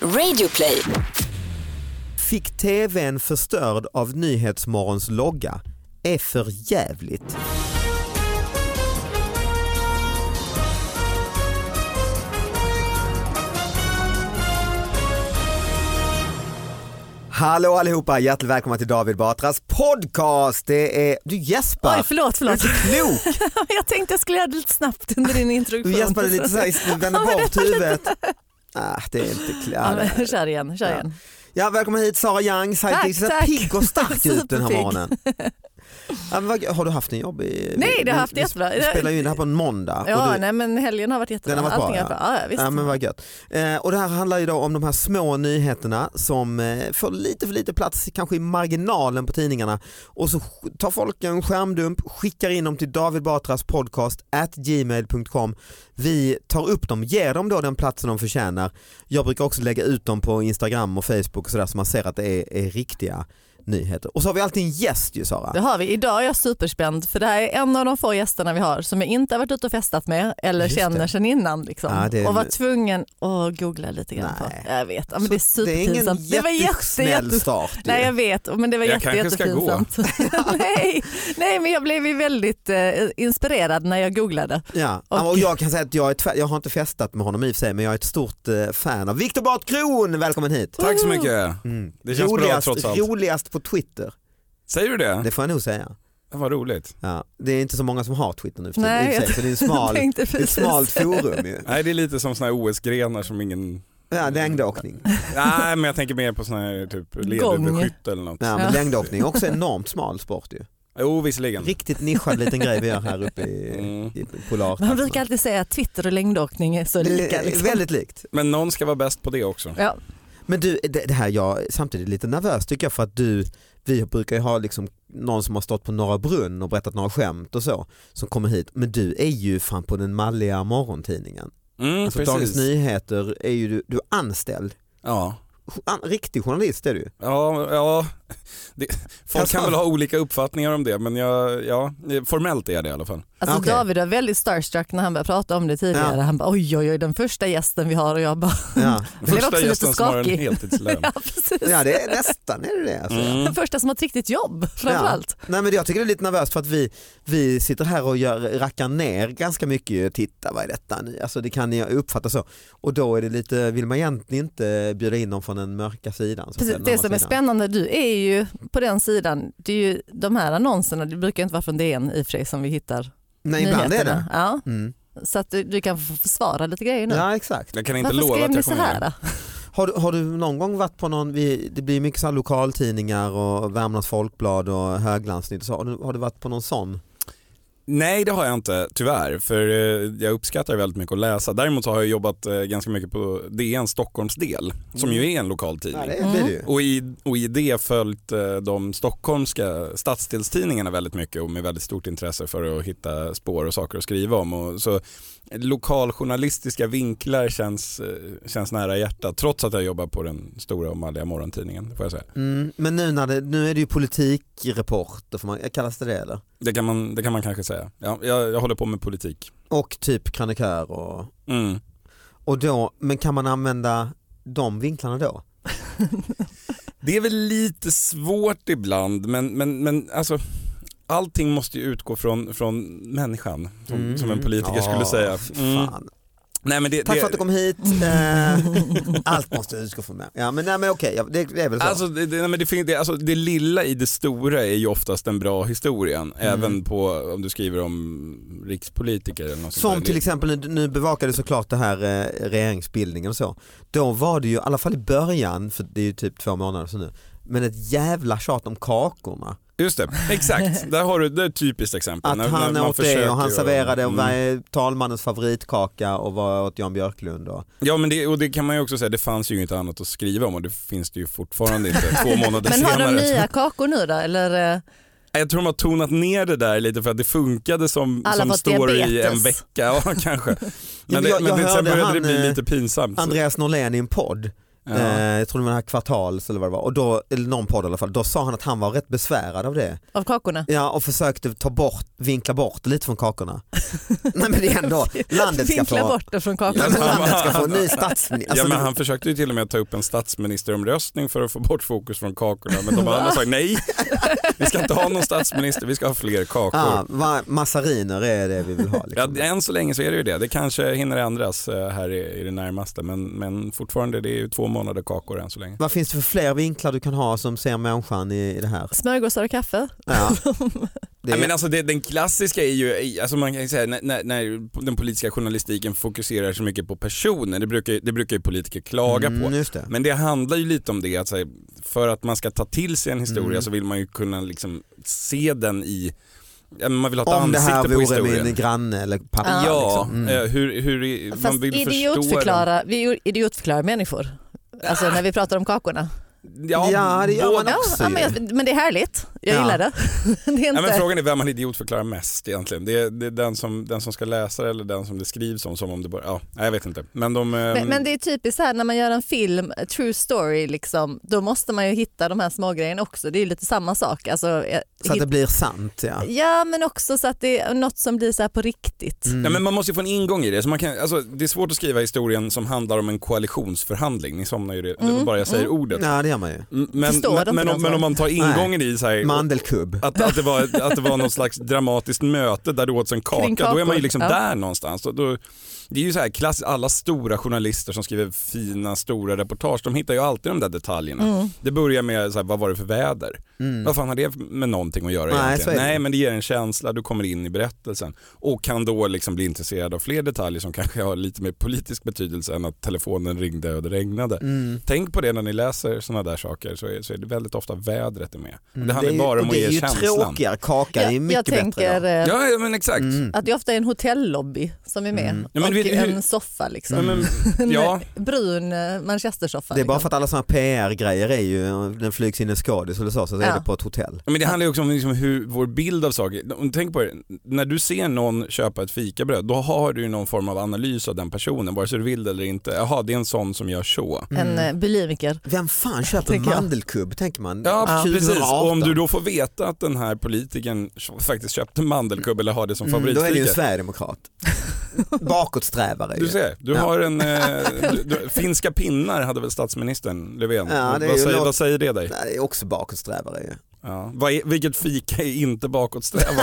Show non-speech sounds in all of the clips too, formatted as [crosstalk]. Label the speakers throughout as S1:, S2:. S1: Radioplay.
S2: Fick tvn förstörd av Nyhetsmorgons logga är för jävligt. Hallå allihopa, hjärtligt välkomna till David Batras podcast. Det är... Du gäspar!
S3: Oj, förlåt, förlåt.
S2: Du är inte klok!
S3: [laughs] jag tänkte jag skulle göra det lite snabbt under din
S2: Du
S3: introduktion.
S2: gäspade lite så här, vände bort huvudet. Ah, det är inte
S3: Ja,
S2: klart.
S3: men, kör igen, kör igen.
S2: Ja, välkommen hit Sara Young,
S3: Tack,
S2: sidekick. Du ser
S3: tack.
S2: pigg och
S3: [laughs]
S2: stark ut den här
S3: Superpigg.
S2: morgonen. Ja, men vad- har du haft en jobbig...
S3: Nej,
S2: vi-
S3: det har jag
S2: vi-
S3: haft
S2: vi
S3: jättebra.
S2: Vi spelar ju in det här på en måndag.
S3: Ja,
S2: och du,
S3: nej, men helgen har varit jättebra.
S2: Den har varit bra,
S3: Allting har varit bra. Ja, ja, visst.
S2: ja, men vad gött. Eh, och det här handlar ju då om de här små nyheterna som eh, får lite för lite plats kanske i marginalen på tidningarna. Och så sk- tar folk en skärmdump, skickar in dem till David Batras podcast at gmail.com. Vi tar upp dem, ger dem då den platsen de förtjänar. Jag brukar också lägga ut dem på Instagram och Facebook och sådär så man ser att det är, är riktiga nyheter. Och så har vi alltid en gäst ju Sara.
S3: Det har vi. Idag är jag superspänd för det här är en av de få gästerna vi har som jag inte har varit ute och festat med eller
S2: Just
S3: känner
S2: det.
S3: sedan innan. Liksom.
S2: Ja, det är-
S3: Och var tvungen att googla lite grann
S2: Nej.
S3: på. Jag vet, ja, men
S2: Så
S3: det är
S2: det är ingen
S3: superpinsamt. var jätte,
S2: jättesnäll
S3: jätte...
S2: start. ju.
S3: [laughs] Nej jag vet, men det var
S4: Jag
S3: jätte,
S4: kanske ska gå.
S3: [laughs] jättepinsamt. nej, nej, men jag blev ju väldigt eh, inspirerad när jag googlade.
S2: Ja,
S3: Och-
S2: och jag kan säga att jag, är tvär, jag har inte festat med honom i och för sig men jag är ett stort eh, fan av Viktor Bartkron, välkommen hit!
S4: Tack så mycket.
S2: Mm.
S4: Det känns bra
S2: roligast,
S4: trots allt.
S2: roligast på Twitter,
S4: Säger du det?
S2: det får jag nog säga.
S4: det var roligt.
S2: Ja, det är inte så många som har Twitter nu för tiden
S3: Nej,
S2: i och för sig,
S3: [laughs] jag
S2: så det är, en smal, det
S3: tänkte
S2: är ett
S3: precis.
S2: smalt forum ju.
S4: Nej det är lite som såna här OS-grenar som ingen...
S2: Ja, längdåkning.
S4: Nej men jag tänker mer på såna här typ
S3: Gång.
S4: leduberskytte eller något.
S2: Ja,
S3: Ja.
S2: men längdåkning är också en enormt smal sport ju.
S4: Jo visserligen.
S2: Riktigt nischad liten grej vi gör här uppe i,
S4: Mm.
S2: i polar.
S3: Man brukar alltid säga att Twitter och längdåkning är så
S2: Det
S3: lika.
S2: är
S3: Liksom.
S2: Väldigt likt.
S4: Men någon ska vara bäst på det också.
S3: Ja.
S2: Men du, det, det här jag är samtidigt lite nervös tycker jag för att du, vi brukar ju ha liksom någon som har stått på Norra Brunn och berättat några skämt och så som kommer hit. Men du är ju fan på den malliga morgontidningen.
S4: Mm,
S2: Alltså
S4: precis.
S2: Dagens Nyheter är ju du, du är anställd.
S4: Ja.
S2: Jo- An, riktig journalist är
S4: [laughs]
S2: du.
S4: Ja, ja. Det, folk
S2: Alltså-
S4: kan väl ha olika uppfattningar om det men jag, ja, formellt är jag det i alla fall.
S3: Alltså
S2: Okej.
S3: David var väldigt starstruck när han började prata om det tidigare.
S2: Ja.
S3: Han bara oj oj oj den första gästen vi har och jag bara
S2: Ja,
S3: blev också lite
S4: som har en
S3: skakig.
S4: heltidslön.
S3: [laughs] ja precis.
S2: ja det är nästan är det det. Alltså.
S4: Mm.
S3: Den första som har ett riktigt jobb framförallt.
S2: Nej men jag tycker det är lite nervöst för att vi, vi sitter här och gör, rackar ner ganska mycket. ju. Titta vad är detta nu? Alltså det kan jag uppfatta så. Och då är det lite, vill man egentligen inte bjuda in dem från den mörka sidan. Så att
S3: Precis,
S2: säga, den
S3: det
S2: andra
S3: som är
S2: sidan.
S3: spännande, du är ju på den sidan, det är ju de här annonserna, det brukar inte vara från DN i och för sig som vi hittar
S2: Nej ibland är
S3: nyheterna.
S2: det.
S3: Ja,
S2: Mm.
S3: så att du, du kan få försvara lite grejer nu.
S2: Ja exakt.
S4: Jag kan inte
S3: Varför
S4: lova
S3: skrev
S4: att
S3: ni
S4: jag
S3: så
S4: kommer
S3: här?
S4: ihåg.
S3: då?
S2: Har du, har du någon gång varit på någon, vi, det blir mycket så här lokaltidningar och Värmlands Folkblad och Höglandsnytt. och Så har, du, har du varit på någon sån?
S4: Nej det har jag inte tyvärr för eh, jag uppskattar väldigt mycket att läsa. Däremot har jag jobbat eh, ganska mycket på DN Stockholmsdel som ju är en lokal tidning.
S2: Ja, det
S3: Mm.
S2: blir det ju.
S4: Och i, och i det följt eh, de stockholmska stadsdelstidningarna väldigt mycket och med väldigt stort intresse för att hitta spår och saker att skriva om. Och så lokaljournalistiska vinklar känns, eh, känns nära hjärtat trots att jag jobbar på den stora och malliga morgontidningen. det Får jag säga.
S2: Mm. Men nu, när det, nu är det ju politikreporter, får man, kallas det det eller?
S4: Det, kan man, det kan man kanske säga. Ja, jag, jag håller på med politik.
S2: Och typ krönikör och
S4: Mm.
S2: Och då, men kan man använda de vinklarna då?
S4: Det är väl lite svårt ibland men, men, men alltså Allting måste ju utgå från, från människan, som,
S2: Mm.
S4: som en politiker skulle
S2: Ja,
S4: säga.
S2: fy
S4: Mm.
S2: Fan.
S4: Nej, men det,
S2: Tack
S4: det,
S2: för att du kom hit.
S4: [laughs]
S2: Eh, Allt måste utgå från mig. Ja, men, nej, men okej, ja, det, det är väl så.
S4: Alltså det, det, nej, men det, fin- det, alltså det lilla i det stora är ju oftast den bra historien,
S2: Mm.
S4: även på om du skriver om rikspolitiker eller något
S2: som
S4: sånt där.
S2: till exempel, nu, nu bevakade du såklart det här eh, regeringsbildningen och så. Då var det ju, i alla fall i början, för det är ju typ två månader sedan nu, men ett jävla tjat om kakorna.
S4: Just det,
S2: [laughs]
S4: exakt. Där har du det är ett typiskt exempel.
S2: Att
S4: När-
S2: han
S4: när man
S2: åt det och han
S4: försöker
S2: serverade och
S4: mm.
S2: var eh, talmannens favoritkaka och var åt Jan Björklund. Och,
S4: Ja men det, och det kan man ju också säga, det fanns ju inget annat att skriva om och det finns det ju
S2: [laughs]
S4: fortfarande inte två månader
S3: Men har
S4: senare.
S3: de nya kakor nu då? Eller, eh,
S4: Nej, Jag tror de har tonat ner det där lite för att det funkade som,
S3: Alla
S4: som
S3: fått
S4: story i en
S3: diabetes.
S4: vecka.
S2: [laughs]
S4: Ja kanske.
S2: jag-
S4: Men, det, men
S2: jag
S4: det, sen
S2: hörde
S4: började
S2: han,
S4: det bli
S2: eh,
S4: lite pinsamt.
S2: Andreas Norlén i en podd
S4: Ja.
S2: Eh, jag tror det var den här kvartals eller vad det var. Och då, eller någon podd i alla fall. Då sa han att han var rätt besvärad av det.
S3: Av kakorna?
S2: Ja och försökte ta bort, vinkla bort lite från
S4: [laughs]
S2: kakorna. Nej men det är
S3: [laughs]
S2: ändå, landet ska
S3: Vinkla
S2: få,
S3: bort det från
S2: Ja,
S3: kakorna.
S2: men landet ska få en ny statsminister.
S4: ja,
S2: Alltså,
S4: men han försökte ju till och med ta upp en statsministeromröstning för att få bort fokus från kakorna men
S2: [laughs]
S4: de andra sa nej, vi ska inte ha någon statsminister, vi ska ha fler kakor.
S2: ja, va- massariner är det vi vill ha.
S4: Ja,
S2: Liksom.
S4: än så länge så är det ju det. Det kanske hinner ändras eh, här i, i det närmaste men, men fortfarande det är ju två månader kakor än så länge.
S2: Vad finns det för fler vinklar du kan ha som ser människan i, i det här?
S3: Smörgåsar och kaffe.
S4: [laughs]
S2: Ja. Det
S4: Nej, men alltså det, den klassiska är ju, alltså man kan ju säga när, när, när den politiska journalistiken fokuserar så mycket på personer, det brukar, ju- det brukar ju politiker klaga på.
S2: Mm, just det.
S4: Men det handlar ju lite om det att så här, för att man ska ta till sig en historia
S2: Mm.
S4: så vill man ju kunna liksom se den i, ja, men man vill ha ett
S2: Om det här
S4: ansikte på
S2: vore
S4: historien.
S2: min granne eller pappa.
S3: Ja.
S4: Ja,
S2: liksom. Mm.
S4: eh, hur, hur i- man
S3: Fast
S4: vill förstå den.
S3: idiotförklara, vi idiotförklarar människor. Alltså när vi pratar om kakorna.
S4: Ja,
S2: Ja, det gör
S4: båda-
S2: man
S3: Ja,
S2: också
S3: ja,
S2: ju.
S3: men, jag- men det är härligt, jag
S2: Ja.
S3: gillar det. [laughs] det är
S4: Ja,
S3: inte...
S4: men frågan är vem man idiotförklarar mest egentligen. Det är, det är den, som, den som ska läsa det eller den som det skrivs om som om det bara, ja, nej, jag vet inte. Men de... eh,
S3: Men, men det är typiskt här när man gör en film, a true story, liksom, då måste man ju hitta de här små grejerna också. Det är ju lite samma sak. Alltså, eh,
S2: Så att det
S3: hit-
S2: blir sant ja.
S3: Ja men också så att det är något som blir så här på riktigt.
S2: Mm.
S4: Ja, men man måste ju få en ingång i det. Så man kan, alltså, det är svårt att skriva historien som handlar om en koalitionsförhandling. Ni somnar ju det, det var
S3: Mm,
S4: bara jag säger ordet.
S2: Ja det gör man ju.
S4: Mm, Men,
S3: Förstår de inte
S4: men, men,
S3: de
S4: om, men om man tar ingången i så här,
S2: Mandelkubb.
S4: att, att, det var, ett- att det var något slags dramatiskt möte där det åts en
S3: Kring
S4: kaka,
S3: kakor,
S4: då är man ju liksom
S3: ja.
S4: där någonstans. Då, då, det är ju så här klass, alla stora journalister som skriver fina stora reportage, de hittar ju alltid de där detaljerna.
S3: Mm.
S4: Det börjar med så här, vad var det för väder?
S2: Mm.
S4: Vad fan har det med någonting att göra
S2: Nej, så är
S4: egentligen?
S2: det.
S4: Nej men det ger en känsla, du kommer in i berättelsen och kan då liksom bli intresserad av fler detaljer som kanske har lite mer politisk betydelse än att telefonen ringde och det regnade.
S2: Mm.
S4: Tänk på det när ni läser sådana där saker så är, så är det väldigt ofta vädret är med.
S2: Mm.
S4: Det handlar
S2: är-
S4: bara om
S2: och
S4: att
S2: det är
S4: ge
S2: ju
S4: känslan.
S2: tråkigare, kakan är
S3: Jag,
S2: ju
S3: jag
S2: mycket bättre.
S3: tänker
S2: idag.
S3: eh,
S4: Ja, ja men exakt.
S2: Mm.
S3: att det ofta är en hotellobby som är med
S2: Mm.
S4: Ja, men
S3: och
S4: vet du hur-
S3: en soffa liksom.
S4: Ja,
S2: [laughs]
S4: men, ja.
S3: En brun eh, manchestersoffa.
S2: Det är bara för
S3: liksom.
S2: att alla sådana PR-grejer är ju, den flygs in en skådis eller så, så är
S3: Ja.
S2: det på ett hotell.
S4: Men det handlar ju också om liksom hur vår bild av saker, om- tänk på det, när du ser någon köpa ett fikabröd då har du ju någon form av analys av den personen vare sig du vill det eller inte. Jaha, det är en sån som gör så.
S2: Mm.
S3: En
S2: [laughs]
S3: eh, bulimiker.
S2: Vem
S3: [laughs]
S2: fan köper
S3: Tänker jag.
S2: mandelkubb tänker man?
S4: Ja, precis.
S2: 2018.
S4: Och om du då får veta att den här politiken faktiskt köpte mandelkubb eller har det som
S2: mm, Då är det ju en
S4: favoritfika.
S2: sverigedemokrat.
S3: [laughs]
S2: Bakåtsträvare ju.
S4: Du ser, du
S2: Ja.
S4: har en...
S2: [laughs]
S4: Eh, du, du, finska pinnar hade väl statsministern Löfven?
S2: Ja, det är
S4: vad,
S2: ju
S4: vad, säger,
S2: något-
S4: vad säger det dig?
S2: Nej, Det är också bakåtsträvare ju.
S4: Ja. Vad är, vilket fika är inte bakåtsträvande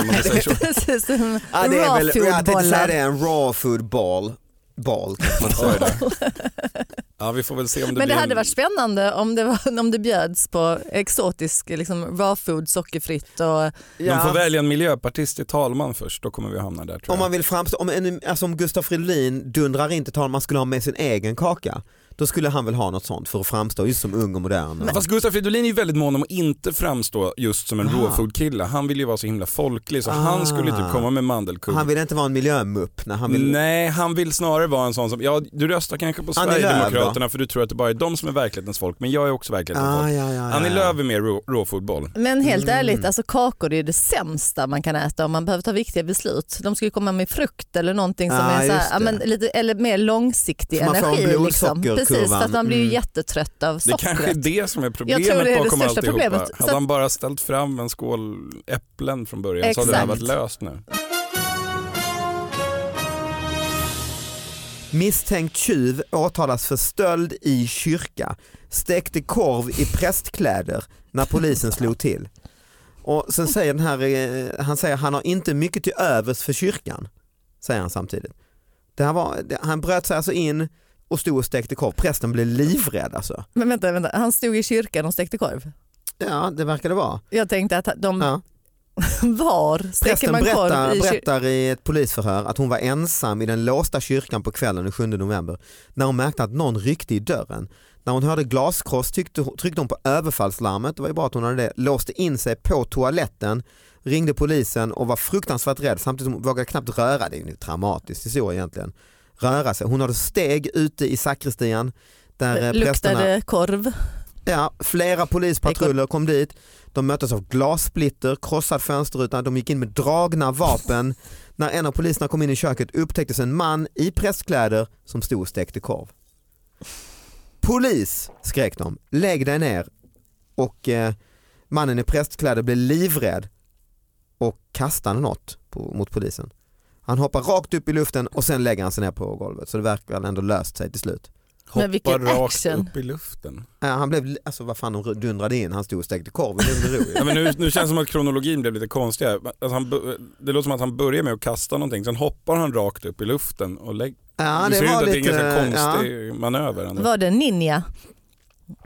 S2: [laughs]
S4: om man säger så?
S3: Precis som
S2: Ja, det är
S3: raw
S2: väl, jag tänkte säga
S3: food-bollar.
S2: det, en raw food ball. Ball kanske man
S4: Så är
S2: säger.
S4: det. Ja, vi får väl se om det
S3: Men det
S4: blir
S3: hade
S4: en...
S3: varit spännande om det, var, om det bjöds på exotisk liksom, raw food, sockerfritt och
S4: De får
S2: Ja.
S4: välja en miljöpartist till talman först, då kommer vi hamna där tror jag.
S2: Om man vill framstå, om, en, alltså om Gustav Fridolin dundrar in till tal man skulle ha med sin egen kaka, då skulle han väl ha något sånt för att framstå just som ung och modern.
S4: Fast Gustaf Fridolin är ju väldigt mån om att inte framstå just som en
S2: Aha.
S4: rawfood-kille. Han vill ju vara så himla folklig så
S2: Ah.
S4: han skulle typ komma med mandelkubb.
S2: Han vill inte vara en miljömupp när han vill...
S4: Nej, han vill snarare vara en sån som, ja du röstar kanske på
S2: Annie Lööf då?
S4: Sverigedemokraterna för du tror att det bara är de som är verklighetens folk, men jag är också verklighetens
S2: Ah,
S4: folk.
S2: ja, ja, ja.
S4: Annie Lööf är mer rå- råfotboll.
S3: Men helt
S2: Mm.
S3: ärligt, alltså kakor är ju det sämsta man kan äta om man behöver ta viktiga beslut. De ska ju komma med frukt eller någonting som
S2: Ah,
S3: är så
S2: just
S3: här,
S2: det.
S3: ja, men lite, eller mer långsiktig
S2: Så man får
S3: energi.
S2: en
S3: Liksom.
S2: blodsockerkurvan.
S3: Precis, att man blir ju
S2: Mm.
S3: jättetrött av
S4: Det kanske är
S3: sockret.
S4: det som är
S3: Jag tror det är
S4: problemet
S3: det
S4: bakom
S3: största
S4: alltihopa.
S3: problemet. Så
S4: Hade han bara ställt fram en skål äpplen från början så hade det här varit
S3: Exakt.
S4: löst nu.
S2: Misstänkt tjuv åtalas för stöld i kyrka. Stekte korv i prästkläder när polisen slog till. Och sen säger den här, eh, han säger han har inte mycket till övers för kyrkan. Säger han samtidigt. Det här var, det, han bröt sig alltså in och stod och stekte korv. Prästen blev livrädd alltså.
S3: Men vänta, vänta, han stod i kyrkan och stekte korv.
S2: Ja det verkar det vara.
S3: Jag tänkte att de
S2: Ja.
S3: [laughs] var steker
S2: Prästen
S3: man korv
S2: berättar,
S3: i kyrkan.
S2: berättar i ett polisförhör att hon var ensam i den låsta kyrkan på kvällen den 7 november när hon märkte att någon ryckte i dörren. När hon hörde glaskross tryckte, tryckte hon på överfallslarmet, det var ju bra att hon hade det, låste in sig på toaletten, ringde polisen och var fruktansvärt rädd samtidigt som hon vågade knappt röra, det är ju en traumatisk historia egentligen, röra sig. Hon hade steg ute i sakristian där eh, prästerna
S3: Luktade korv.
S2: Ja, flera polispatruller kom dit. De möttes av glassplitter, krossad fönsterruta, de gick in med dragna vapen. När en av poliserna kom in i köket upptäcktes en man i prästkläder som stod och stekte korv. Polis, skrek de. Lägg dig ner. Och eh, mannen i prästkläder blev livrädd och kastade något på, mot polisen. Han hoppar rakt upp i luften och sen lägger han sig ner på golvet så det verkar väl ändå löst sig till slut.
S3: Men vilken
S4: Hoppar rakt
S3: action.
S4: upp i luften.
S2: Eh, han blev, alltså vad fan de dundrade in, han stod och stekte korv i lugn och ro.
S4: [laughs] Ja, men nu, nu känns det som att kronologin blev lite konstig. här. Alltså han, bu- det låter som att han börjar med att kasta någonting, sen hoppar han rakt upp i luften och lägger...
S2: Ja,
S4: det ser
S2: det
S4: ut
S2: var
S4: att det är en
S2: lite,
S4: ganska
S2: ja,
S4: konstig manöver. ändå.
S3: Var det ninja?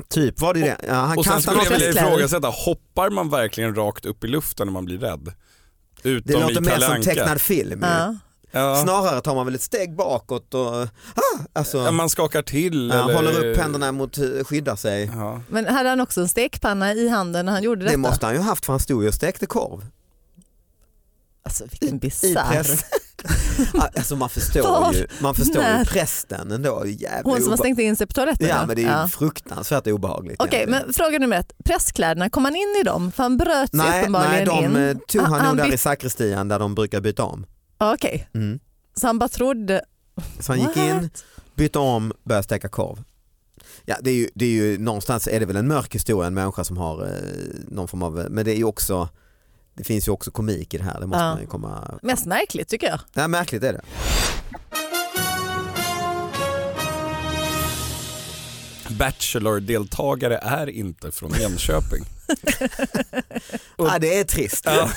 S2: typ var det ju det. Ja, han
S4: Och sen
S2: kastade
S4: skulle jag
S2: något
S4: vilja
S3: kläder.
S4: ifrågasätta, hoppar man verkligen rakt upp i luften när man blir rädd?
S2: det
S4: Utom
S2: låter
S4: i
S2: mer
S4: Kalle
S2: som
S4: Anka.
S2: tecknad film. ju.
S3: Ja.
S4: Ja.
S2: Snarare tar man väl ett steg bakåt och ah, alltså,
S4: Ja, man skakar till.
S2: ja,
S4: eller...
S2: håller upp händerna mot, eh, skyddar sig.
S4: Ja.
S3: Men hade han också en stekpanna i handen när han gjorde detta?
S2: Det måste han ju haft för han stod ju och stekte korv.
S3: Alltså vilken
S2: I
S3: bisarr. [laughs]
S2: press. Ja, alltså man förstår
S3: Var?
S2: ju, man förstår ju
S3: När?
S2: prästen ändå. Jävligt
S3: Hon som har
S2: obe-
S3: stängt in sig på toaletten?
S2: Ja
S3: va?
S2: men det är ju fruktansvärt obehagligt.
S3: Okej,
S2: egentligen.
S3: men fråga nummer ett. Presskläderna, kom han in i dem? För han bröt sig
S2: Nej, nej,
S3: uppenbarligen in.
S2: de eh, tog
S3: Ah,
S2: han nog
S3: han
S2: där
S3: byt-
S2: i sakristian där de brukar byta om.
S3: Ja, Okej,
S2: Mm.
S3: så han bara trodde...
S2: Så han gick in,
S3: What?
S2: bytte om, började steka korv. Ja, det är ju, det är ju, någonstans är det väl en mörk historia, en människa som har eh, någon form av, men det är ju också, det finns ju också komik i det här, det måste
S3: Ja.
S2: man ju komma...
S3: Mest märkligt tycker jag.
S2: Nej, märkligt är det.
S4: Bachelor-deltagare är inte från Enköping. Och-
S2: Ja, det är trist.
S4: Ja.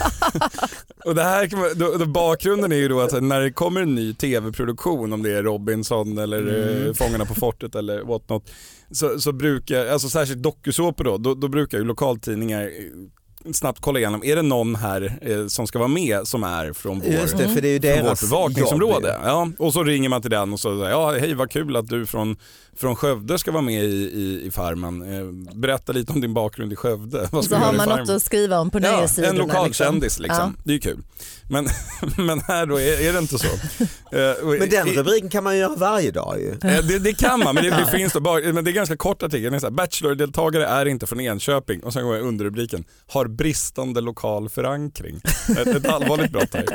S4: [laughs] och det här kan man, då, då bakgrunden är ju då att när det kommer en ny tv-produktion, om det är Robinson eller eh, Fångarna på fortet eller what not, så, så brukar, alltså särskilt dokusåpor då, då, då brukar ju lokaltidningar eh, snabbt kolla igenom, är det någon här eh, som ska vara med som är från vår
S2: Just det, för det är ju
S4: från vårt
S2: deras jobb
S4: bevakningsområde.
S2: ju.
S4: Ja, och så ringer man till den och så säger ja hej vad kul att du från, från Skövde ska vara med i, i, i Farmen. Eh, Berätta lite om din bakgrund i Skövde. Vad
S3: Så
S4: ska du
S3: har
S4: göra i
S3: man
S4: Farmen?"
S3: något att skriva om på
S4: Ja,
S3: nyhetssidorna.
S4: en lokal kändis liksom. Det är ju kul. Men, [laughs] men här då är, är
S2: [laughs]
S4: det inte så. Eh, och
S2: Men den
S4: i-
S2: rubriken kan man ju göra varje dag ju.
S4: [laughs] Eh, Det, det kan man, men det, det finns då bara, men det är ganska kort artikel. Det är så här, Bachelor-deltagare är inte från Enköping och sen går jag underrubriken har bristande lokal förankring. Ett, ett allvarligt brott här.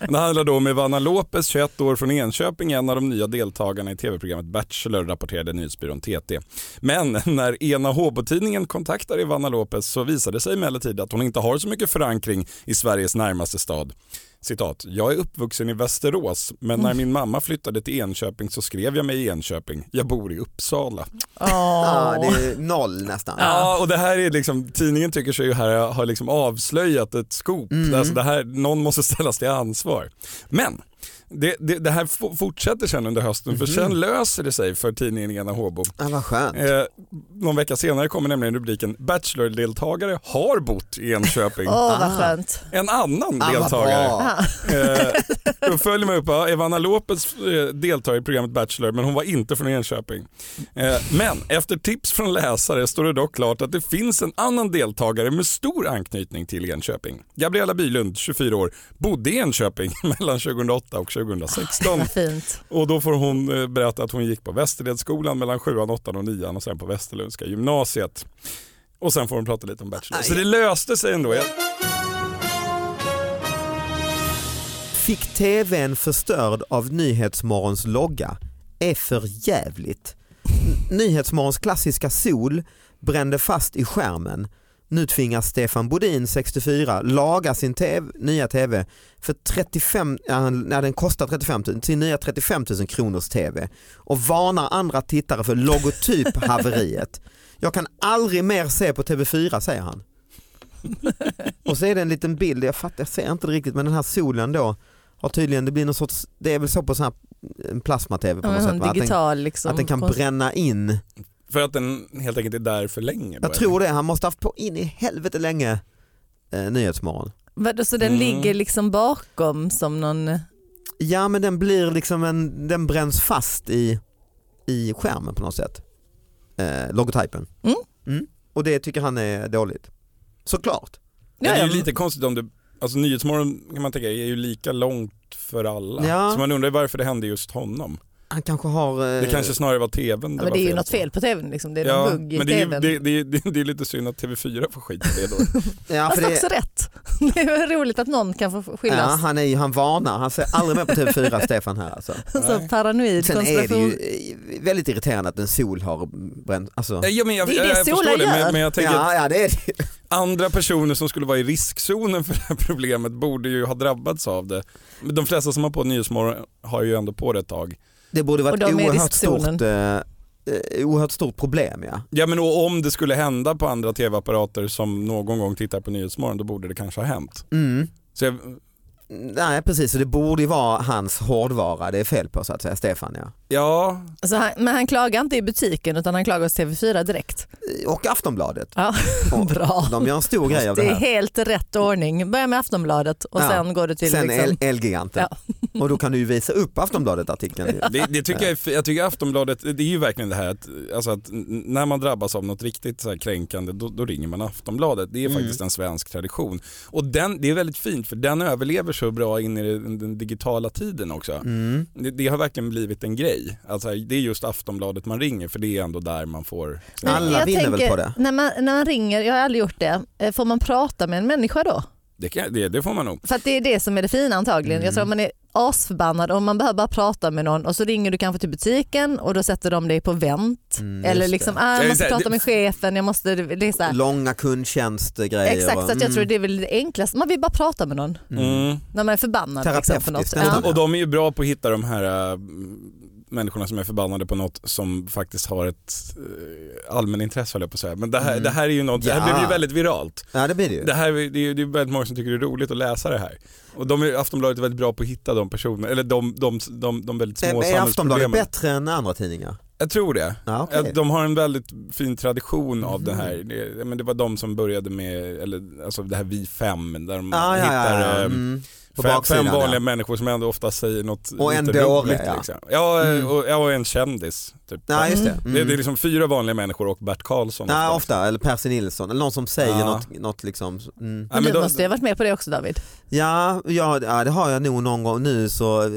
S4: Men Det handlar då om Ivana Lopez, 21 år från Enköping, en av de nya deltagarna i tv-programmet Bachelor, rapporterade nyhetsbyrån TT. Men när ena Håbo-tidningen kontaktar Ivana Lopez så visar det sig emellertid att hon inte har så mycket förankring i Sveriges närmaste stad. Citat, jag är uppvuxen i Västerås men när min mamma flyttade till Enköping så skrev jag mig i Enköping. Jag bor i Uppsala.
S2: Ja,
S3: Ja,
S2: det är noll nästan.
S4: Ja, och det här är liksom, tidningen tycker sig ju här ha liksom avslöjat ett scoop. Alltså det här, någon måste [laughs] ställas till ansvar. Men det, det, det här f- fortsätter sen under hösten för sen löser det sig för tidningen Ena Håbo.
S2: Ja, vad skönt.
S4: Eh, någon vecka senare kommer nämligen rubriken Bachelor-deltagare har bott i Enköping.
S3: Åh
S2: Ah.
S3: vad skönt.
S4: En
S2: Ja,
S4: annan
S2: vad
S4: deltagare
S2: bra.
S3: Ah.
S4: Eh, Då följer man upp, ja, Evana Lopez eh, deltar i programmet Bachelor men hon var inte från Enköping. Eh, Men efter tips från läsare står det dock klart att det finns en annan deltagare med stor anknytning till Enköping. Gabriella Bylund, 24 år, bodde i Enköping [laughs] mellan 2008 och 2016.
S3: Vad fint.
S4: Och då får hon eh, berätta att hon gick på Västerledsskolan mellan 7, 8 och 9 och sen på Västerlundska gymnasiet. Och sen får hon prata lite om Bachelor. Så det löste sig ändå. Jag-
S2: Fick tvn förstörd av Nyhetsmorgons logga är för jävligt. N- Nyhetsmorgons klassiska sol brände fast i skärmen. Nu tvingas Stefan Bodin, 64, laga sin TV, nya tv för 35, ja, han- nej, den kostar 35 000, sin nya 35 000 kronors tv och varnar andra tittare för logotyphaveriet. Jag kan aldrig mer se på TV4 säger
S3: [laughs]
S2: han. Och så är det en liten bild, jag fattar, jag ser inte det riktigt men den här solen då har tydligen, det blir någon sorts, det är väl så på sån här en plasma-tv på
S3: Ja,
S2: något
S3: men
S2: sätt
S3: hon
S2: va? Att den,
S3: digital liksom.
S2: att den kan
S3: konst-
S2: bränna in.
S4: För att den helt enkelt är där för länge. bara.
S2: Jag tror det, han måste haft på in i helvete länge eh, Nyhetsmorgon.
S3: Vadå, Så den
S4: Mm.
S3: ligger liksom bakom som någon...
S2: Ja men den blir liksom en, den bränns fast i, i skärmen på något sätt. Eh, logotypen.
S3: Mm.
S2: Och det tycker han är dåligt. Såklart.
S4: Men det är
S3: Ja,
S4: ju
S3: ja.
S4: lite konstigt om du, alltså Nyhetsmorgon kan man tänka är ju lika långt för alla.
S2: Ja.
S4: Så man undrar varför det hände just honom.
S2: Han kanske har... eh,
S4: Det kanske snarare var
S3: Ja,
S4: tvn
S3: men det är
S4: var
S3: ju något
S4: på.
S3: fel på tvn liksom. Det är
S4: Ja,
S3: någon bugg i
S4: men det är,
S3: tvn.
S4: ju- det, det, det, det är lite synd att TV4 får
S3: [laughs]
S4: skit för det då.
S2: ja, för
S3: Fast
S2: det,
S3: också rätt. [laughs] Det är väl roligt att någon kan få
S2: ja,
S3: skyllas.
S2: han, är, ju- han varnar, han ser aldrig mer på
S3: [laughs]
S2: TV4 Stefan här alltså.
S3: Så paranoid
S2: Sen är det ju
S3: konspiration.
S2: eh, väldigt irriterande att en sol har bränt. Alltså.
S4: Eh, Ja, men jag,
S3: Det är det
S4: jag
S3: solen
S4: förstår det,
S3: gör.
S4: men, men jag tänker att
S2: Ja, ja, det är det.
S4: andra personer som skulle vara i riskzonen för det här problemet borde ju ha drabbats av det. Men De flesta som har på Nyhetsmorgon har ju ändå på det ett tag.
S2: Det borde vara
S3: Och
S2: ett
S3: de är i
S2: oerhört
S3: riskzonen.
S2: stort, eh, eh, oerhört stort problem. Ja.
S4: Ja men och om det skulle hända på andra tv-apparater som någon gång tittar på Nyhetsmorgon då borde det kanske ha hänt.
S2: Mm.
S4: Så jag,
S2: Nej precis, så det borde ju vara hans hårdvara det är fel på så att säga, Stefan. Ja.
S4: ja,
S3: Så han, men han klagar inte i butiken utan han klagar hos TV4 direkt.
S2: Och Aftonbladet.
S3: Ja,
S2: Och
S3: [laughs] bra.
S2: De gör en
S3: [laughs]
S2: stor grej av
S3: Det
S2: det
S3: är
S2: här.
S3: helt rätt ordning. Börja med Aftonbladet och
S2: Ja.
S3: sen går du till...
S2: Sen
S3: liksom,
S2: El- Elgiganten. Och då kan du ju visa upp Aftonbladet-artikeln.
S3: [laughs]
S2: ju.
S4: det, det tycker jag, är f- jag tycker Aftonbladet, det är ju verkligen det här att, alltså att n- när man drabbas av något riktigt så här kränkande då, då ringer man Aftonbladet. Det är
S2: Mm.
S4: faktiskt en svensk tradition. Och den, det är väldigt fint för den överlever så bra in i den, den digitala tiden också.
S2: Mm.
S4: Det, det har verkligen blivit en grej. Alltså, det är just Aftonbladet man ringer för det är ändå där man får...
S3: Men
S2: Alla
S3: jag
S2: vinner väl
S3: tänker,
S2: på det?
S3: När man, när man ringer, jag har aldrig gjort det, eh, får man prata med en människa då?
S4: Det, kan, det, det får man nog.
S3: För att det är det som är det fina antagligen. Jag tror
S2: Mm.
S3: man är asförbannad om man behöver bara prata med någon och så ringer du kanske till butiken och då sätter de dig på vänt.
S2: Mm,
S3: Eller
S2: just
S3: liksom, ah, jag
S4: Ja,
S3: måste
S4: det-
S3: prata med chefen, jag måste... Det är så
S2: det.
S3: här.
S2: Långa kundtjänstgrejer.
S3: Exakt, så att jag tror
S2: mm.
S3: det är väl det enklaste. Man vill bara prata med någon
S4: Mm.
S3: när man är förbannad. Liksom, för något.
S2: Terapeutiskt nästan.
S4: Och de är ju bra på att hitta de här äh, människorna som är förbannade på något som faktiskt har ett äh, allmänintresse höll jag på att säga. Men det här,
S2: Mm.
S4: det här är ju något, det
S2: Ja.
S4: här blev ju väldigt viralt.
S2: Mm. Ja det blir det ju.
S4: Det, här, är- det, är, det är väldigt många som tycker det är roligt att läsa det här. Och de är, Aftonbladet är väldigt bra på att hitta de personer, eller de, de, de, de, väldigt små
S2: Är Aftonbladet
S4: samhällsproblemen.
S2: bättre än andra tidningar?
S4: Jag tror det.
S2: Ja, okej. Mhm.
S4: Att De har en väldigt fin tradition av det här. Det, men det var de som började med, eller, alltså det här Vi fem, där de
S2: Ah, ja,
S4: hittar
S2: ja, ja.
S4: äh,
S2: Mm. På
S4: fem,
S2: baksidan,
S4: fem vanliga
S2: ja.
S4: människor som ändå ofta säger något
S2: Och en
S4: lite
S2: dåre,
S4: roligt.
S2: ja.
S4: Liksom. Ja,
S2: Mm.
S4: och, ja, och en kändis. Typ.
S2: Ja, just det. Mm.
S4: Det, det är liksom fyra vanliga människor och Bert Karlsson.
S2: Ja,
S4: ofta.
S2: ofta, eller Percy Nilsson, eller någon som säger
S4: Ja.
S2: något, något liksom. Mm.
S4: Ja,
S3: Men
S4: men
S3: du
S4: de-
S3: måste ju ha varit med på det också David.
S2: Ja, ja, ja, det har jag nog någon gång nu så eh,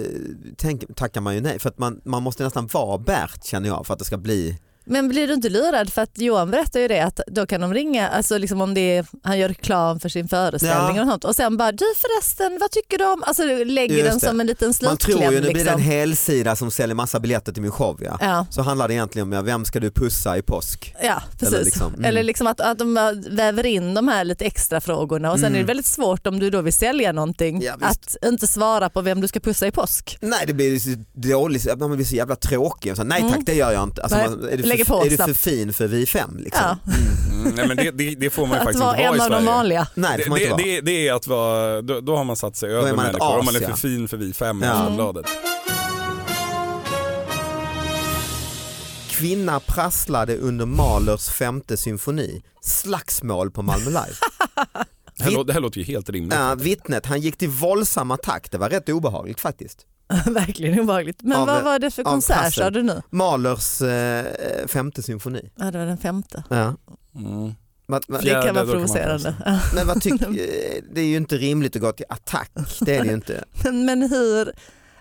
S2: tänk, tackar man ju nej för att man, man måste nästan vara Bert känner jag för att det ska bli.
S3: Men blir du inte lurad? För att Johan berättar ju det att då kan de ringa, alltså liksom om det är, han gör reklam för sin föreställning
S2: Ja.
S3: och sånt och sen bara du förresten, vad tycker du om? Alltså du lägger
S2: Just
S3: den
S2: det.
S3: som en liten
S2: Man tror
S3: slutkläm.
S2: ju nu blir det en
S3: liksom.
S2: helsida som säljer massa biljetter till min show ja.
S3: ja.
S2: Så handlar det egentligen om ja, vem ska du pussa i påsk?
S3: Ja, precis. Eller liksom,
S2: liksom, mm.
S3: att, att de väver in de här lite extra frågorna och sen
S2: Mm.
S3: är det väldigt svårt om du då vill sälja någonting
S2: Ja,
S3: att inte svara på vem du ska pussa i påsk.
S2: Nej det blir så dåligt, man blir så jävla tråkig. Och Så, nej
S3: Mm.
S2: tack det gör jag inte. Alltså,
S3: Nej,
S2: man, är du
S3: lägger
S2: för,
S3: på,
S2: är du
S3: slapp.
S2: för fin för vi fem? Liksom?
S3: Ja,
S4: Mm, nej, men det, det, det får man ju
S3: [laughs] att
S4: faktiskt
S3: vara
S4: inte
S3: en
S4: vara i
S3: av de
S4: Sverige.
S3: vanliga. [laughs]
S2: Nej det
S4: det,
S2: får man inte
S4: det,
S2: vara.
S4: det, det är att vara, då, då har man satt sig
S2: är
S4: över
S2: man ett
S4: människor om man är
S2: as, ja.
S4: för fin för Vi fem i
S2: Ja.
S4: Aftonbladet.
S2: Kvinna prasslade under Mahlers femte symfoni. Slagsmål på Malmö Live.
S4: Det, här lå- det här låter ju helt rimligt.
S2: Ja, vittnet han gick till våldsam attack, det var rätt obehagligt faktiskt.
S3: Verkligen obehagligt. Men
S2: Av-
S3: vad var det för
S2: av
S3: konsert
S2: passen.
S3: sa du nu?
S2: Mahlers eh, femte symfoni.
S3: Ja, det var den femte.
S2: Ja.
S4: Mm.
S2: Vad- vad-
S4: Fjärde,
S3: det kan vara
S4: då kan man
S3: provocerande. Ja.
S2: Men vad tyck, eh, det är ju inte rimligt att gå till attack, det är det ju inte.
S3: Men, [laughs] men hur,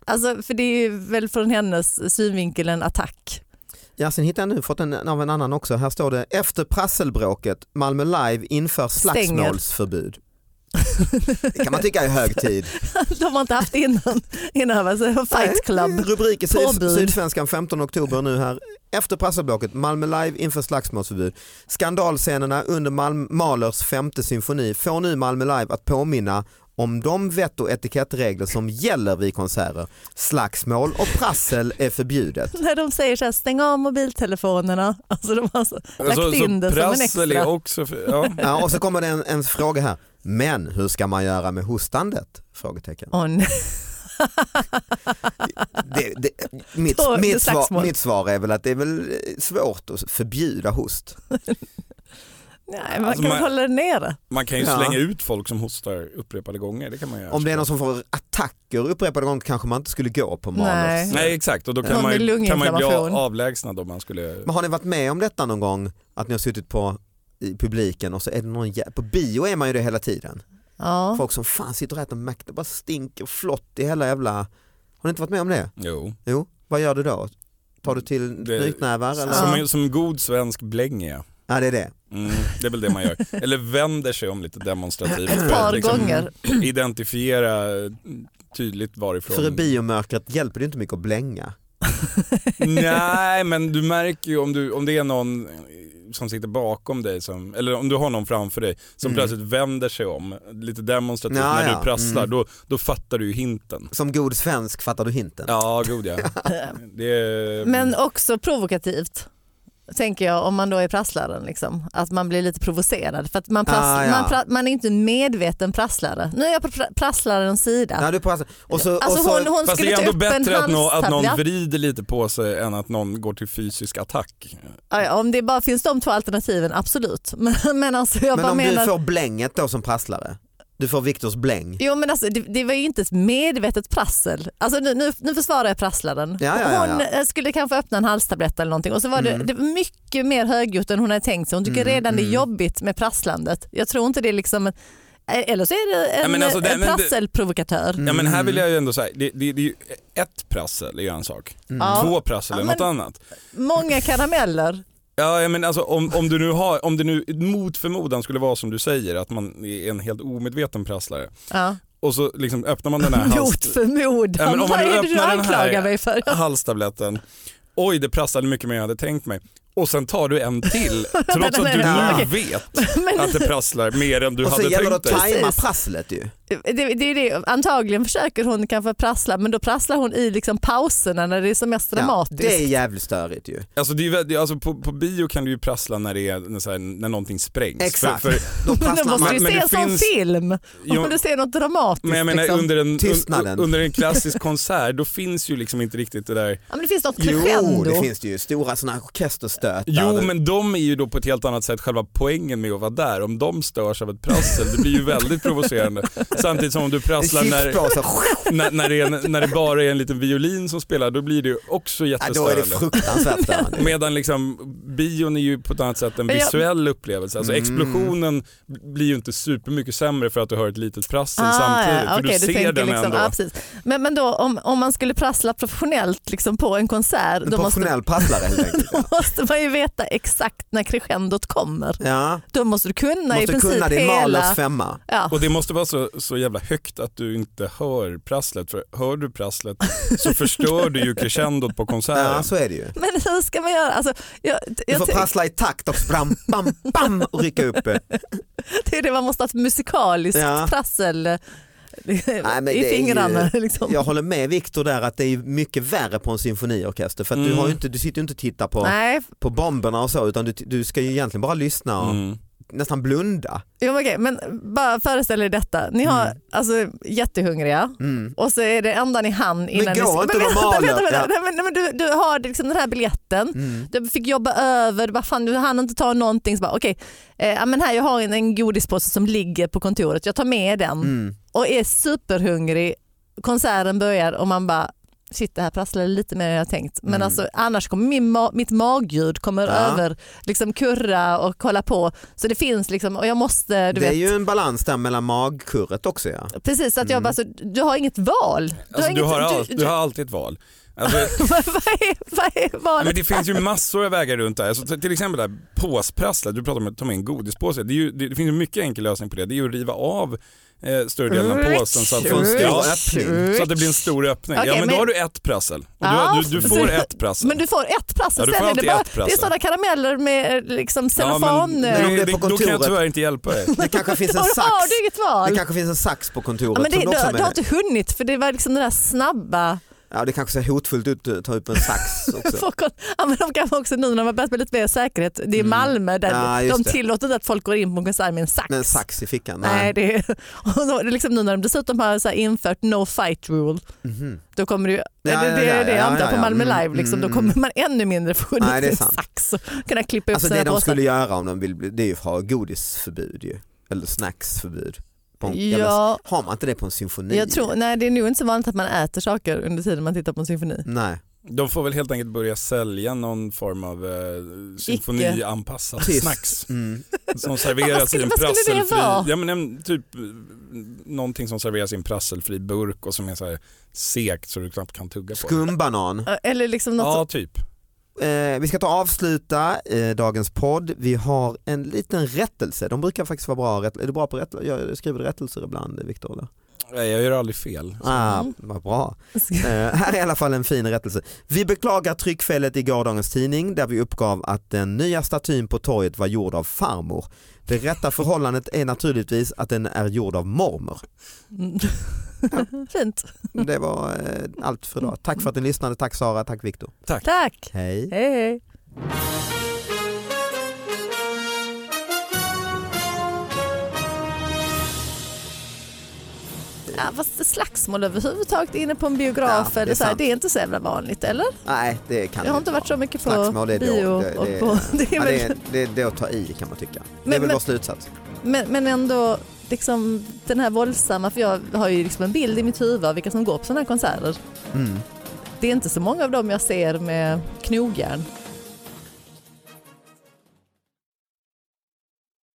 S3: alltså, för det är ju väl från hennes synvinkel en attack. [laughs]
S2: Ja, sen hittade jag nu, fått en av en annan också, här står det efter prasselbråket, Malmö Live inför
S3: Stänger.
S2: slagsmålsförbud. Det kan man tycka är hög tid.
S3: De har inte haft innan, innan alltså, fight club.
S2: Mm,
S3: [laughs]
S2: Rubrik i Syd-
S3: Påbud.
S2: Sydsvenskan 15 oktober nu här. Efter prasselblocket, Malmö Live inför slagsmålsförbud. Skandalscenerna under Malm- Mahlers femte symfoni får nu Malmö Live att påminna om de vett och etikettregler som gäller vid konserter. Slagsmål och prassel är förbjudet.
S3: När de säger så här, stäng av mobiltelefonerna. Alltså, de har så, lagt
S4: Alltså,
S3: in det
S4: så
S3: som en
S4: prassel är
S3: extra.
S4: också, för, ja.
S2: Ja, och så kommer det en, en fråga här. Men hur ska man göra med hostandet? Frågetecken.
S3: Åh, nej.
S2: Det, det, mitt,
S3: Då är det
S2: mitt, svar,
S3: slagsmål.
S2: mitt svar är väl att det är väl eh, svårt att förbjuda host.
S3: Nej, man
S4: Alltså,
S3: kan
S4: man-
S3: väl hålla det nere.
S4: Man kan ju
S2: Ja.
S4: slänga ut folk som hostar upprepade gånger. Det kan man göra.
S2: Om det är någon som får attacker upprepade gånger kanske man inte skulle gå på
S3: Nej.
S2: manus.
S4: Nej exakt och då kan
S3: Ja.
S4: man,
S3: Någon
S4: ju,
S3: med
S4: kan man ju bli
S3: lunginflammation.
S4: avlägsnad om man skulle
S2: Men har ni varit med om detta någon gång? Att ni har suttit på i publiken och så är det någon jä- på bio är man ju det hela tiden.
S3: Ja.
S2: Folk som fan sitter och äter Mac, det bara stinker flott i hela jävla... Har ni inte varit med om det?
S4: Jo.
S2: Jo. vad gör du då? Tar du till
S4: Det-
S2: knytnävar? Eller?
S3: Ja.
S4: Som, som god svensk blänger jag.
S2: Ja det är det.
S4: Mm, det är väl det
S3: [laughs]
S4: man gör. Eller vänder sig om lite demonstrativt. liksom
S3: Ett par
S4: [laughs]
S3: gånger.
S4: [clears throat] Identifiera mm, tydligt varifrån.
S2: För i biomörkret hjälper det inte mycket att blänga.
S4: [laughs] Nej men du märker ju om, du, om det är någon eh, som sitter bakom dig, som, eller om du har någon framför dig som
S2: Mm.
S4: plötsligt vänder sig om lite demonstrativt
S2: Ja,
S4: när
S2: ja.
S4: du prasslar,
S2: Mm.
S4: då, då fattar du ju hinten.
S2: Som god svensk fattar du hinten.
S4: Ja,
S3: [laughs]
S4: god ja. Det är,
S3: Men också provokativt. Tänker jag om man då är prasslaren. Liksom. Att man blir lite provocerad. För att man, prassl-
S2: Ah, ja.
S3: man, pra- man är inte en medveten prasslare. Nu är jag på pra- prasslarens sida.
S2: Ja, du prasslar. och så,
S3: alltså
S2: och så,
S3: hon, hon
S4: Fast det
S3: skulle
S4: är
S3: ta
S4: ändå
S3: upp en
S4: bättre att, nå, att någon
S3: halstablett.
S4: vrider lite på sig än att någon går till fysisk attack.
S3: Ja, ja, om det bara finns de två alternativen, absolut. [laughs] Men, men alltså jag
S2: men
S3: bara
S2: om
S3: menar...
S2: du får blänget då som prasslare, du får Viktors bläng.
S3: Jo men alltså det, det var ju inte ett medvetet prassel. Alltså nu, nu, nu försvarar jag prasslaren.
S2: Ja, ja, ja, ja.
S3: Hon eh, skulle kanske öppna en halstablett eller någonting och så var det, det var mycket mer högljutt än hon hade tänkt sig. Hon tycker
S2: Mm,
S3: redan det
S2: mm.
S3: är jobbigt med prasslandet. Jag tror inte det är liksom en, eh, eller så är det
S4: Ja,
S3: en,
S4: men alltså det-
S3: en
S4: men det-
S3: prasselprovokatör.
S4: Ja men
S2: Mm.
S4: här vill jag ju ändå säga, det, det, det är ju ett prassel är ju en sak,
S2: Mm.
S3: Ja.
S4: två prassel är
S3: Ja,
S4: något
S3: men-
S4: annat.
S3: Många karameller.
S4: Ja, men alltså, om, om, du nu har, om det nu mot förmodan skulle vara som du säger, att man är en helt omedveten prasslare
S3: Ja.
S4: och så liksom öppnar man
S3: [laughs]
S4: den här
S3: Mot
S4: hals,
S3: förmodan,
S4: Ja, men om
S3: vad
S4: man nu
S3: är det du
S4: öppnar den här-
S3: anklagar mig för?
S4: halstabletten. Oj, det prasslade mycket mer än jag hade tänkt mig. Och sen tar du
S3: [laughs]
S4: en till trots att
S3: nej,
S4: du
S2: nej,
S4: nu
S3: okej. [laughs]
S4: vet
S3: Men-
S4: att det prasslar mer än du
S2: och så
S4: hade
S2: gäller det att
S4: tänkt dig.
S2: tajma
S3: Precis.
S2: prasslet ju.
S3: Det, det är det. Antagligen försöker hon kanske prassla men då prasslar hon i liksom pauserna när det är som mest
S2: Ja,
S3: dramatiskt.
S2: det är jävligt störigt ju.
S4: Alltså, det är, ju väldigt- alltså, på, på bio kan du ju prassla när, det är, när, så här, när någonting sprängs.
S2: Exakt. [laughs]
S4: För, för,
S2: Då
S3: Men Då
S2: prasslar
S3: måste
S2: man.
S3: du ju
S4: men
S3: se
S4: det
S3: en sån
S4: finns-
S3: film
S4: Jo,
S3: om du ser något dramatiskt.
S4: men jag menar
S3: liksom.
S4: under en, un,
S2: Tystnaden.
S4: under en klassisk konsert, då finns ju liksom inte riktigt
S2: [laughs]
S4: det där
S3: ja, men det finns något
S2: Jo,
S3: crescendo.
S2: det finns det ju. Stora sådana här orkesterstötar.
S4: Jo men de är ju då på ett helt annat sätt själva poängen med att vara där. Om de störs av ett prassel, det blir
S2: [laughs]
S4: ju väldigt provocerande. Samtidigt som om du
S2: En
S4: prasslar alltså, när,
S2: chipspåse,
S4: när, när, det är, en- när det bara är en liten violin som spelar, då blir det ju också
S2: ja, då är det
S4: jättestörande.
S2: fruktansvärt [laughs] störande.
S4: Medan liksom, bion är ju på ett annat sätt en
S3: Men jag-
S4: visuell upplevelse. Alltså
S2: Mm.
S4: explosionen blir ju inte supermycket sämre för att du hör ett litet prassel
S3: Ah,
S4: samtidigt.
S3: ja,
S4: för
S3: okej,
S4: du ser
S3: tänker
S4: den
S3: liksom,
S4: ändå.
S3: Ja, precis. Men, men då om, om man skulle prassla professionellt liksom på en konsert
S2: En
S3: då måste,
S2: professionell prasslare helt enkelt. ja.
S3: [laughs] måste man ju veta exakt när crescendot kommer.
S2: [laughs] Ja,
S3: Då måste du kunna i
S2: måste
S3: princip
S2: kunna din Mahlers
S3: hela...
S2: femma.
S3: Ja.
S4: Och det måste vara så, så jävla högt att du inte hör prasslet. För hör du prasslet
S3: [laughs]
S4: så förstör du ju crescendot på konserten.
S2: Ja, så är det ju.
S3: Men hur ska man göra? Alltså, jag,
S2: Du
S3: jag
S2: får
S3: tänk- [laughs]
S2: prassla i takt och bam, bam, bam och rycka [laughs] upp.
S3: Det är det man måste ha ett musikaliskt
S2: Ja.
S3: prassel eh,
S2: men det
S3: i
S2: är ju-
S3: fingrarna. [laughs] Liksom.
S2: Jag håller med Viktor där att det är mycket värre på en symfoniorkester för att du,
S4: Mm.
S2: har ju inte, du sitter ju inte och tittar på,
S3: Nej,
S2: på bomberna och så utan du, du ska ju egentligen bara lyssna och
S4: Mm.
S2: nästan blunda.
S3: jo, men okej, men bara föreställ er detta. Ni har alltså, jättehungriga
S2: Mm.
S3: och så är det ända ni hann innan
S2: gå
S3: ni...
S2: inte
S3: [laughs] men, vänta,
S2: normalen.
S3: vänta, vänta,
S2: Ja.
S3: Nej, men, nej, men du, du har liksom den här biljetten.
S2: Mm.
S3: Du fick jobba över, du, bara, fan, du hann inte ta någonting. Så bara, okej, eh, ja, men här, jag har en, en godispåse som ligger på kontoret, jag tar med den
S2: Mm.
S3: och är superhungrig. Konserten börjar och man bara Shit, det här prasslade lite mer än jag tänkt. Men
S2: Mm.
S3: alltså, annars kommer min ma- mitt magljud kommer
S2: Ja.
S3: över, liksom kurra och hålla på. Så det finns liksom, och jag måste, du
S2: Det är
S3: vet,
S2: ju en balans där mellan magkurret också ja.
S3: precis så att jag
S2: Mm.
S3: bara, så, du har inget val. Du
S4: Alltså, du, har all,
S3: inget,
S4: du, har alltid ett val. Alltså,
S3: [laughs] vad är, vad är
S4: ja,
S3: valet? [laughs]
S4: men det finns ju massor av vägar runt det här. Alltså, t- till exempel det här påsprasslet, du pratar om att ta med en godispåse. Det, är ju, det, det finns ju mycket enkel lösning på det. Det är ju att riva av eh, större delen av påsen så att, få en stor,
S2: Ja,
S3: öppning.
S4: så att det blir en stor öppning.
S3: Okej,
S4: ja, men,
S3: men-
S4: då har du ett prassel. Och du,
S3: Ja,
S4: har- du, du
S3: så-
S4: får ett prassel.
S3: Men du får ett prassel,
S4: Ja, du
S3: sen
S4: får
S3: är det,
S4: alltid
S3: bara,
S4: ett prassel.
S3: det är sådana karameller med eh, liksom
S4: Ja,
S3: cellofan.
S4: men,
S3: eh,
S2: Men om det är
S4: det,
S2: på
S4: då kan jag
S2: kontoret-
S4: tyvärr inte hjälpa dig.
S2: Det
S3: [laughs]
S2: kanske finns
S3: då
S2: en
S3: har
S2: sax,
S3: du inget val.
S2: det kanske finns en sax på kontoret.
S3: Ja, men det,
S2: som
S3: du,
S2: du, också har
S3: du,
S2: med
S3: har
S2: dig.
S3: inte hunnit för det var liksom den där snabba
S2: ja, det kanske ser hotfullt ut att ta upp en
S3: [laughs]
S2: sax också.
S3: Folk, har- ja, men de kanske också nu när de har börjat med lite mer säkerhet, det är
S4: Mm.
S3: Malmö där
S2: Ja, just
S3: de
S2: det.
S3: tillåter inte att folk går in på en konsert med en sax.
S2: Med en sax i fickan.
S3: Nej, det är, [laughs] och då, det är liksom nu när de dessutom har så här infört no fight rule,
S2: Mhm.
S3: då kommer det ju,
S2: Ja,
S3: eller det
S2: ja, ja,
S3: är det jag
S2: ja,
S3: antar
S2: ja,
S3: på
S2: ja.
S3: Malmö
S2: Mm,
S3: Live, liksom, då
S2: mm,
S3: kommer man ännu mindre få
S2: Nej, det är
S3: en
S2: sant.
S3: sax och kunna klippa upp
S2: Alltså
S3: sina
S2: det de
S3: påsar.
S2: skulle göra om de vill bli, det är ju att ha godisförbud ju. Eller snacksförbud. På en, ja. men
S3: Ja,
S2: har man inte det på en symfoni?
S3: jag tror, nej, det är nog inte så vanligt att man äter saker under tiden man tittar på en symfoni.
S2: Nej.
S4: De får väl helt enkelt börja sälja någon form av eh, symfonianpassad
S2: Tyst.
S4: snax
S2: Mm.
S3: [laughs]
S4: som
S3: Vad
S4: serveras i
S3: skulle-
S4: en
S3: vad skulle det
S4: prasselfri,
S3: vara?
S4: ja, men en, typ eh, någonting som serveras i en prasselfri burk och som är så här sekt så du knappt kan tugga på. det.
S2: Skumbanan.
S3: Eller liksom något
S4: Ja,
S3: som,
S4: typ.
S2: Eh, vi ska ta och avsluta eh, dagens podd. Vi har en liten rättelse. De brukar faktiskt vara bra. rätt- Är du bra på rättelser? Jag skriver rättelser ibland, Viktor? eller?
S4: Nej, jag gör aldrig fel.
S2: Ah,
S3: Mm.
S2: vad bra. Eh, här är i alla fall en fin rättelse. Vi beklagar tryckfelet i gårdagens tidning där vi uppgav att den nya statyn på torget var gjord av farmor. Det rätta förhållandet är naturligtvis att den är gjord av mormor.
S3: [laughs] Fint.
S2: Det var eh, allt för idag. Tack för att ni lyssnade. Tack Sara, tack Viktor.
S3: Tack.
S2: Hej.
S3: Hej hej. Ja, fast slagsmål överhuvudtaget inne på en biograf,
S2: Ja, det är
S3: eller så här,
S2: sant.
S3: det är inte så jävla vanligt eller?
S2: Nej, det kan
S3: Jag har
S2: vi
S3: inte varit så mycket på
S2: Slagsmål, det är då-
S3: bio
S2: det-
S3: och
S2: det-
S3: på... [laughs] Det är
S2: Ja,
S3: väl,
S2: det, är- det, det är att ta i kan man tycka. det är
S3: Men-
S2: väl
S3: men-
S2: vår slutsats.
S3: Men, men ändå, liksom, den här våldsamma, för jag har ju liksom en bild i mitt huvud av vilka som går på sådana här konserter.
S2: Mm.
S3: Det är inte så många av dem jag ser med knogjärn.